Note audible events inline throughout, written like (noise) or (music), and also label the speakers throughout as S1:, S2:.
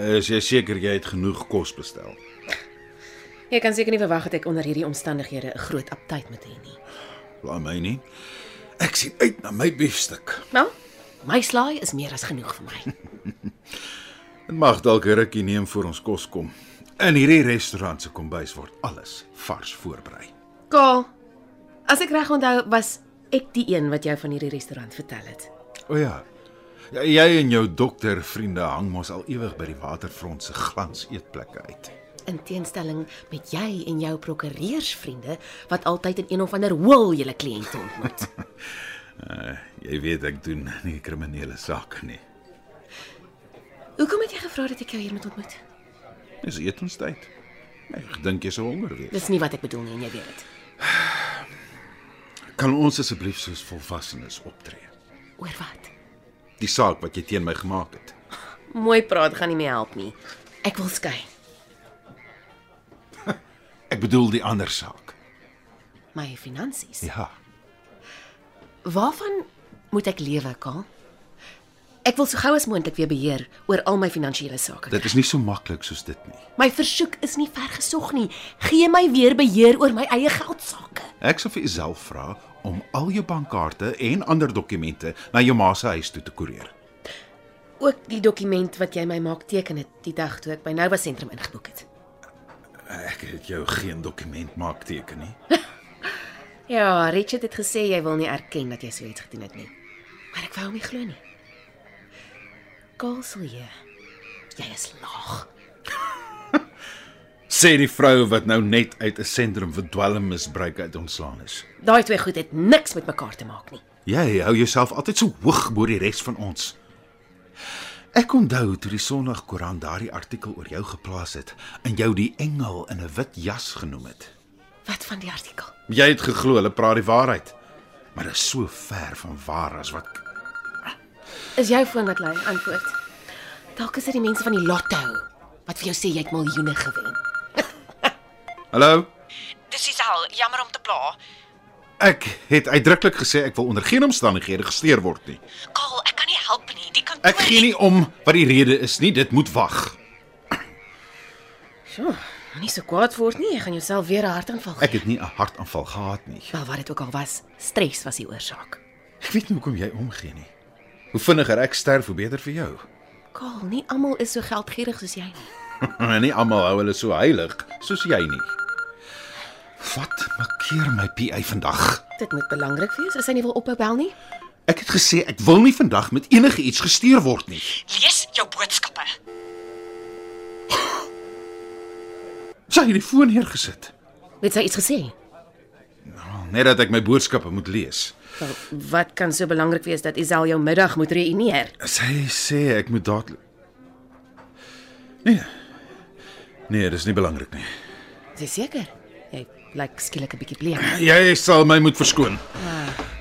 S1: Is jy seker jy het genoeg kos bestel?
S2: Jy kan seker nie verwag dat ek onder hierdie omstandighede 'n groot aptyt moet hê nie.
S1: Bla my nie. Ek sien uit na my biefstuk.
S2: Wel, my slaai is meer as genoeg vir (laughs) my.
S1: Dit mag dalk 'n rukkie neem voor ons kos kom. In hierdie restaurant se kombuis word alles vars voorberei.
S2: Kaal, as ek reg onthou, was ek die een wat jou van hierdie restaurant vertel het.
S1: O ja. Jy en jou dokter vriende hang mos al ewig by die waterfront se glans eetplekke uit.
S2: In teenstelling met jy en jou prokureursvriende wat altyd in een of ander hoel julle kliënte ontmoet.
S1: Jy weet ek doen (laughs) nie kriminele sake nie.
S2: Hoekom het jy gevra dat ek jou hier moet ontmoet?
S1: Dis etenstyd. Nee, Ek dink jy sou honger wees.
S2: Dis nie wat ek bedoel nie en jy weet dit.
S1: Kan ons asseblief soos volwassenes optree?
S2: Oor wat?
S1: Die saak wat jy teen my gemaak het.
S2: Mooi praat gaan nie meer help nie. Ek wil skei.
S1: Ek bedoel die ander saak.
S2: My finansies.
S1: Ja.
S2: Waarvan moet ek lewe, Kaal? Ek wil so gou as moontlik weer beheer oor al my finansiële sake.
S1: Dit is nie so maklik soos dit nie.
S2: My versoek is nie vergesog nie. Gee my weer beheer oor my eie geld sake.
S1: Ek sal vir jouself vra om al jou bankkaarte en ander dokumente na jou ma se huis toe te koerier.
S2: Ook die dokument wat jy my maak teken het die dag toe ek by Nova sentrum ingeboek het.
S1: Ek het jou geen dokument maak teken nie.
S2: Ja, Richard het gesê jy wil nie erken dat jy so iets gedoen het nie. Maar ek wou hom nie glo nie. Kaal sal jy. Jy is laag.
S1: Sê die vrou wat nou net uit 'n sentrum vir dwelmmisbruik uit ontslaan is.
S2: Daai twee goed het niks met mekaar te maak nie.
S1: Jy hou jouself altyd so hoog bo die res van ons. Ek onthou toe die Sondagkoerant daardie artikel oor jou geplaas het en jou die engel in 'n wit jas genoem het.
S2: Wat van die artikel?
S1: Jy het geglo hulle praat die waarheid. Maar dit is so ver van waar as wat
S2: Is jou foon wat lui? Antwoord. Dalk is dit die mense van die lotto wat vir jou sê jy het miljoene gewen.
S1: Hallo.
S3: Dis Isel, jammer om te pla.
S1: Ek het uitdruklik gesê ek wil onder geen omstandighede gesteer word nie.
S3: Kaal, ek kan nie help nie. Die kantoor
S1: Ek gee nie om wat die rede is nie, dit moet wag.
S2: Sjoe, moenie so kwaad word nie, jy gaan jouself weer 'n hartaanval gee.
S1: Ek het nie 'n hartaanval gehad nie.
S2: Wel, wat dit ook al was, stres was die oorsaak.
S1: Ek weet nie hoekom jy omgee nie. Hoe vinniger ek sterf, hoe beter vir jou.
S2: Kaal, nie almal is so geldgierig soos jy nie.
S1: En nie almal hou hulle so heilig soos jy nie. Wat maak keer my PA vandag?
S2: Dit moet belangrik wees as hy nie wil ophou bel nie.
S1: Ek het gesê ek wil nie vandag met enige iets gestuur word nie.
S3: lees jou boodskappe.
S1: Sy het die foon neergesit.
S2: Het sy iets gesê?
S1: Net dat ek my boodskappe moet lees.
S2: Wel, wat kan so belangrik wees dat Isel jou middag moet reüneer?
S1: Sy sê ek moet dadelik Nee. Nee, dis nie belangrik nie.
S2: Is jy seker? Jy lyk skielik 'n bietjie bleek.
S1: Jy sal my moet verskoon.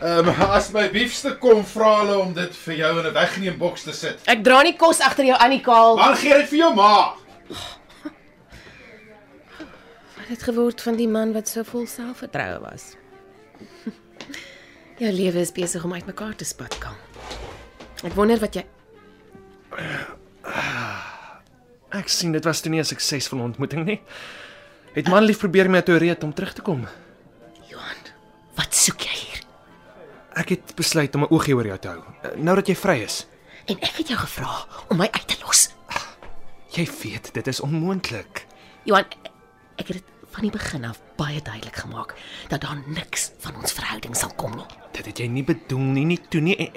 S1: Ehm um, as my liefste kom vra hulle om dit vir jou in 'n weggeneem boks te sit.
S2: Ek dra nie kos agter jou aan nie, Kaal. Wat
S1: Maar gee dit vir jou ma.
S2: het geword van die man wat so vol selfvertroue was? (laughs) jou lewe is besig om uitmekaar te spat, Kaal. Ek wonder wat jy
S4: Ek sien dit was toe nie 'n suksesvolle ontmoeting nie. Het manlief probeer my toe reed om terug te kom.
S2: Johan, wat soek jy hier?
S4: Ek het besluit om 'n oogie oor jou te hou. Eh, Nou dat jy vry is.
S2: En ek het jou gevra om my uit te los.
S4: Jy weet dit is onmoontlik.
S2: Johan, ek- ek het dit van die begin af baie duidelik gemaak dat daar niks van ons verhouding sal kom nie.
S4: Dit het jy nie bedoel nie, nie toe nie en,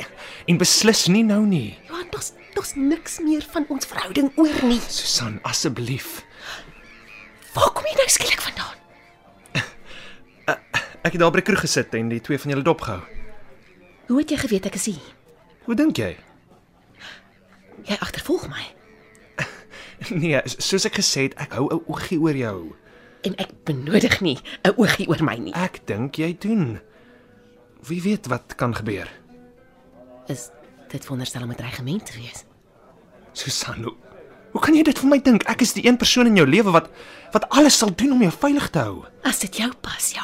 S4: en beslis nie nou nie.
S2: Johan, daar's daar's niks meer van ons verhouding oor nie.
S4: Susan, asseblief.
S2: Waar kom jy nou skielik vandaan?
S4: Ek het daar by die kroeg gesit en die twee van julle dopgehou.
S2: Hoe het jy geweet ek is hier?
S4: Hoe dink jy?
S2: Jy agtervolg my.
S4: (laughs) Nee, s- soos ek gesê het, ek hou 'n oogie oor jou.
S2: en ek benodig nie 'n oogie oor my nie.
S4: Ek dink jy doen. Wie weet wat kan gebeur.
S2: Is dit wonderstel om 'n dreigement te wees?
S4: Susan, hoe, hoe kan jy dit van my dink? Ek is die een persoon in jou lewe wat wat alles sal doen om jou veilig te hou.
S2: As dit jou pas, ja.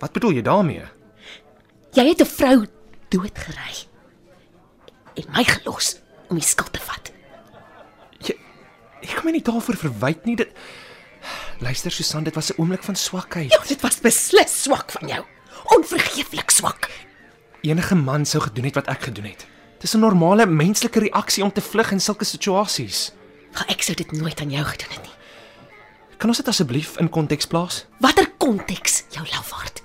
S4: Wat bedoel jy daarmee?
S2: Jy het 'n vrou doodgery en my gelos om die skuld te vat.
S4: Jy jy kan my nie daarvoor verwyd nie. Dit Luister Susan, dit was 'n oomblik van swakheid.
S2: Ja, dit was beslis swak van jou. Onvergeeflik swak.
S4: Enige man sou gedoen het wat ek gedoen het. Dis 'n normale menslike reaksie om te vlug in sulke situasies.
S2: Maar ek sou dit nooit aan jou gedoen het nie.
S4: Kan ons dit asseblief in konteks plaas?
S2: Watter konteks jou lafaard?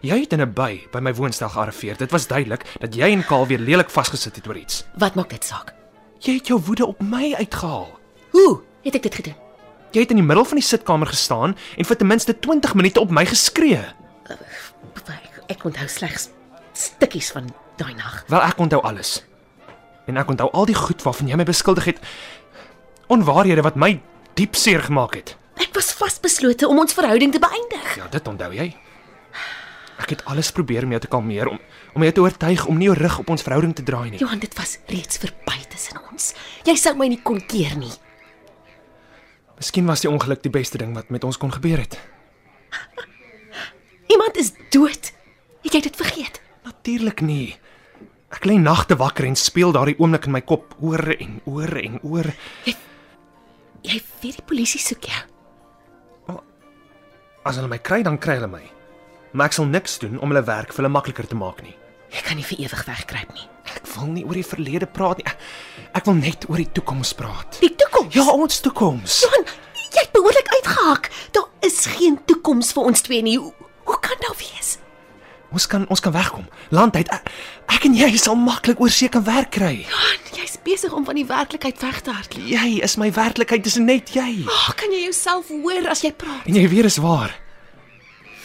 S4: Jy het in 'n by by my woonstel gearriveer. Dit was duidelik dat jy en Kaal weer lelik vasgesit het oor iets.
S2: Wat maak dit saak?
S4: Jy het jou woede op my uitgehaal.
S2: Hoe het ek dit gedoen?
S4: Jy het in die middel van die sitkamer gestaan en vir ten minste 20 minute op my geskree.
S2: Ek, ek onthou slegs stukkies van daai nag.
S4: Wel, ek onthou alles. En ek onthou al die goed waarvan jy my beskuldig het. Onwaarhede wat my diep seer gemaak het.
S2: Ek was vasbeslote om ons verhouding te beëindig.
S4: Ja, dit onthou jy. Ek het alles probeer om jou te kalmeer om om jou te oortuig om nie jou rug op ons verhouding te draai nie.
S2: Johan, dit was reeds verby tussen ons. Jy sou my nie kon keer nie.
S4: Miskien was die ongeluk die beste ding wat met ons kon gebeur het.
S2: Iemand is dood. Het jy dit vergeet?
S4: Natuurlik nie. Ek lê nagte wakker en speel daardie oomblik in my kop oor en oor en oor.
S2: Jy weet die polisie soek ja. jou.
S4: As hulle my kry, dan kry hulle my. Maar ek sal niks doen om hulle werk vir hulle makliker te maak nie.
S2: Jy kan nie vir ewig wegkruip nie.
S4: Ek wil nie oor die verlede praat nie. Ek, ek wil net oor die toekoms praat.
S2: Die toekoms.
S4: Ja, ons toekoms.
S2: Johan, jy het behoorlik uitgehaak. Daar is geen toekoms vir ons twee nie. Hoe, hoe kan daar wees?
S4: Ons kan ons kan wegkom. Landheid. Ek, ek en jy sal maklik oor seker werk kry.
S2: Johan, jy's besig om van die werklikheid weg te hardloop.
S4: Jy is my werklikheid, dis net jy.
S2: Ag, kan jy jouself hoor as jy praat?
S4: En jy weet is waar.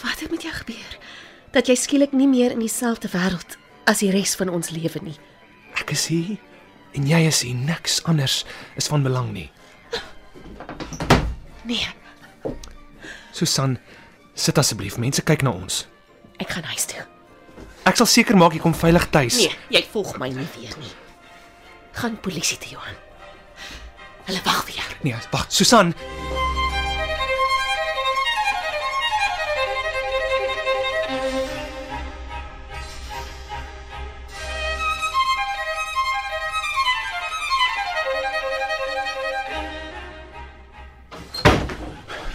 S2: Wat het met jou gebeur? Dat jy skielik nie meer in dieselfde wêreld as die res van ons lewe nie.
S4: Ek is hier en jy is hier. Niks anders is van belang nie.
S2: Nee,
S4: Susan, sit asseblief. Mense kyk na ons.
S2: ek gaan huis toe.
S4: Ek sal seker maak jy kom veilig tuis.
S2: Nee, jy volg my nie weer nie. Gaan polisie toe, Johan. Hulle wag vir jou.
S4: Nee, wag, Susan.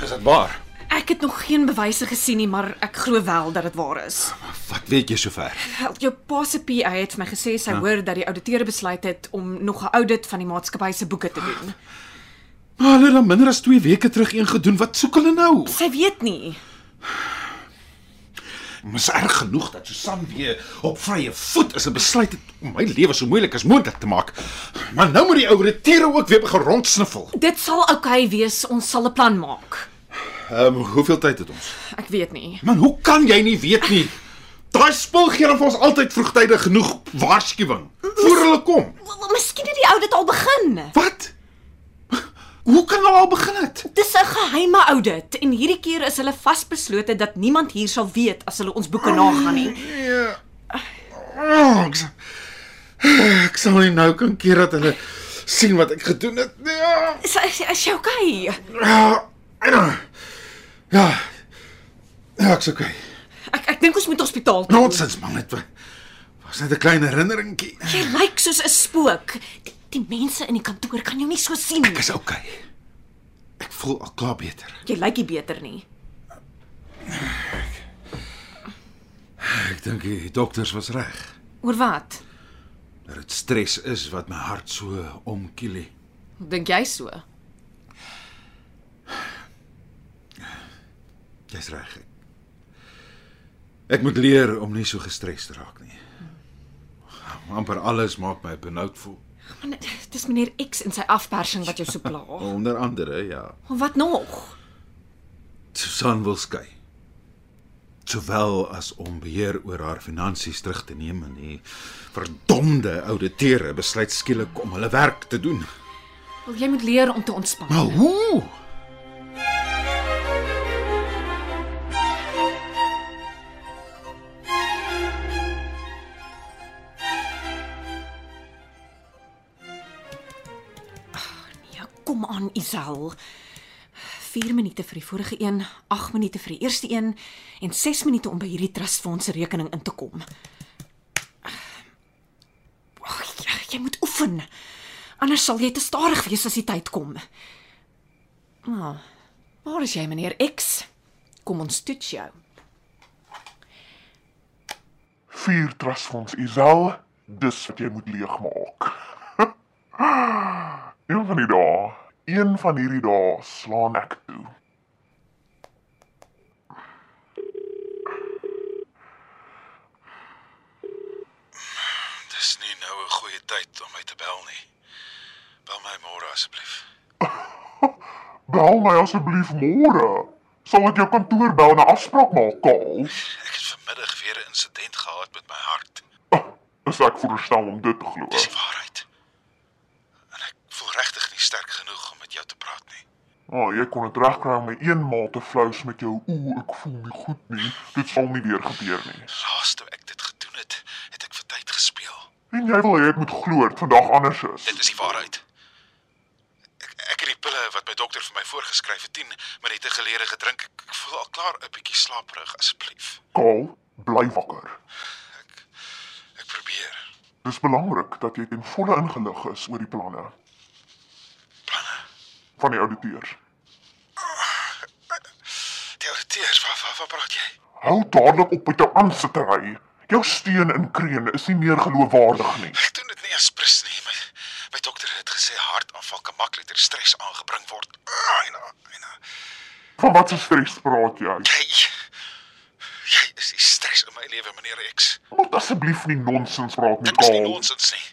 S1: Is dit waar?
S5: Ek het nog geen bewyse gesien nie, maar ek glo wel dat dit waar is.
S1: Wat weet jy sover?
S5: Wel, jou pa se PA het vir my gesê sy hoor dat die ouditeur besluit het om nog 'n audit van die maatskappy se boeke te doen.
S1: Maar hulle het dan minder as 2 weke terug een gedoen. Wat soek hulle nou?
S5: Sy weet nie.
S1: Mis erg genoeg dat Susan weer op vrye voet is en besluit het om my lewe so moeilik as moontlik te maak. Maar nou moet die ou retiere ook weer begin rondsniffel.
S5: Dit sal oukei okay wees, ons sal 'n plan maak.
S1: Ehm, um, hoeveel tyd het ons?
S5: Ek weet nie.
S1: Man, hoe kan jy nie weet nie? Daai spul gee hulle vir ons altyd vroegtydig genoeg waarskuwing voor hulle kom.
S5: Wel, wel, Miskien het die audit al begin.
S1: Wat? Hoe kan hulle al begin het?
S5: Dis 'n geheime audit en hierdie keer is hulle vasbeslote dat niemand hier sal weet as hulle ons boeke nagaan nie.
S1: Ja. Oh, ek, sal, ek sal nie nou kan keer dat hulle sien wat ek gedoen het. Ja.
S5: Is is, is jy okay?
S1: Ja. Ja, ja ek's okay.
S5: Ek ek dink ons moet hospitaal toe.
S1: Nonsens man, dit wa- was net 'n klein herinneringkie.
S5: Jy lyk soos 'n spook. Die, die mense in die kantoor kan jou nie so sien nie.
S1: Ek is okay. Ek voel al klaar beter.
S5: Jy lyk nie beter nie.
S1: Ek dink die dokters was reg.
S5: Oor wat?
S1: dat dit stres is wat my hart so omkiel. het.
S5: Dink jy so?
S1: Jy's reg. Ek, ek moet leer om nie so gestres te raak nie. amper alles maak my benoud voel.
S5: Man, dis meneer X en sy afpersing wat jou so pla. (laughs)
S1: Onder andere, ja,
S5: Wat nog?
S1: Susan wil skei. Sowel as om beheer oor haar finansies terug te neem en die verdomde ouditeure besluit skielik om hulle werk te doen.
S5: Wil jy moet leer om te ontspan.
S6: Maar hoe?
S5: Ja, kom aan Isel. 4 minute vir die vorige een, 8 minute vir die eerste een en 6 minute om by hierdie trustfonds se rekening in te kom. Ag, ja, jy moet oefen. Anders sal jy te stadig wees as die tyd kom. Nou, waar is jy meneer X? Kom ons toets jou.
S7: 4 trustfonds Isel, dis wat jy moet leegmaak. (laughs) een van die dae, een van hierdie dae slaan ek toe.
S1: Dis nie nou 'n goeie tyd om my te bel nie. Bel my môre asseblief.
S7: Bel my asseblief môre. Sal ek jou kantoor bel en 'n afspraak maak, Kaal?
S1: Ek het vanmiddag weer 'n insident gehad met my hart.
S7: Is ek verstaan om dit te glo?
S1: Dis die waarheid. En ek voel regtig nie sterk genoeg om met jou te praat nie.
S7: O, oh, jy kon dit regkry om my eenmaal te flous met jou ooh, ek voel nie goed nie. Dit sal nie weer gebeur nie.
S1: Laas toe ek dit gedoen het, het ek vir tyd gespeel.
S7: En jy wil hê ek moet glo dit vandag anders
S1: Dit
S7: is.
S1: is die waarheid. Ek ek het die pille wat my dokter vir my voorgeskryf het 10 minute gelede gedrink. Ek, ek voel al klaar 'n bietjie slaperig asseblief.
S7: Kaal, bly wakker.
S1: Ek ek probeer.
S7: Dis belangrik dat jy ten volle ingelig is oor die planne
S1: Planne.
S7: van die ouditeurs.
S1: Die auditeurs, wat wat wat praat jy?
S7: Hou dadelik op met jou aansittery. Jou steun in kreun is nie meer geloofwaardig nie.
S1: Ek doen dit nie eens prins nie. My my dokter het gesê hartaanval kan maklik deur stres aangebring word. Ah, En ah, en ah.
S7: Van wat se stres praat jy?
S1: jy jy is die stres in my lewe, meneer X.
S7: Moet asseblief nie nonsens praat nie,
S1: Dit is nie
S7: Kaal.
S1: nonsens nie.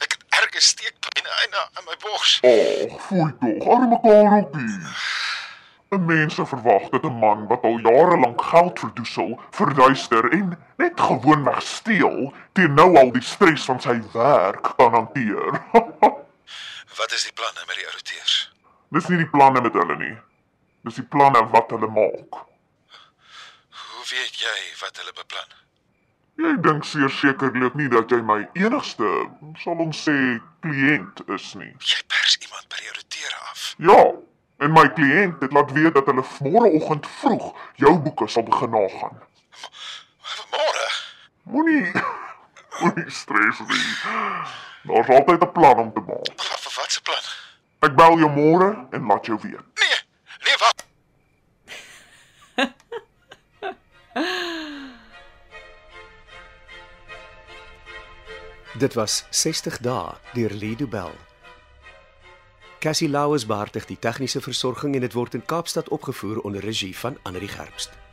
S1: Ek het erge steekpyn in in my bors.
S7: Ag, fooi Oh, tog, arme Karelpie. 'n Mense verwag dat 'n man wat al jare lank geld verdoesel, verduister en net gewoonweg steel, teen nou al die stres van sy werk kan hanteer. (laughs)
S1: Wat is die planne met die auditeurs?
S7: Dis nie die planne met hulle nie. Dis die planne wat hulle maak.
S1: Hoe weet jy wat hulle beplan?
S7: Jy dink seker sekerlik nie dat jy my enigste, sal ons sê, kliënt is nie.
S1: Jy pers iemand by die auditeure af.
S7: Ja, en my kliënt het laat weet dat hulle môreoggend vroeg jou boeke sal begin nagaan.
S1: Môre.
S7: Moenie (laughs) moenie stres nie. Daar's altyd 'n plan om te maak.
S1: Wat wat- wat se plan?
S7: Ek bel jou môre en laat jou weet.
S1: Nee. Nee, wag.
S4: Dit was 60 dae deur Lido Bell. Cassie Lauers beheer die tegniese versorging en dit word in Kaapstad opgevoer onder regie van Anri Gerbst.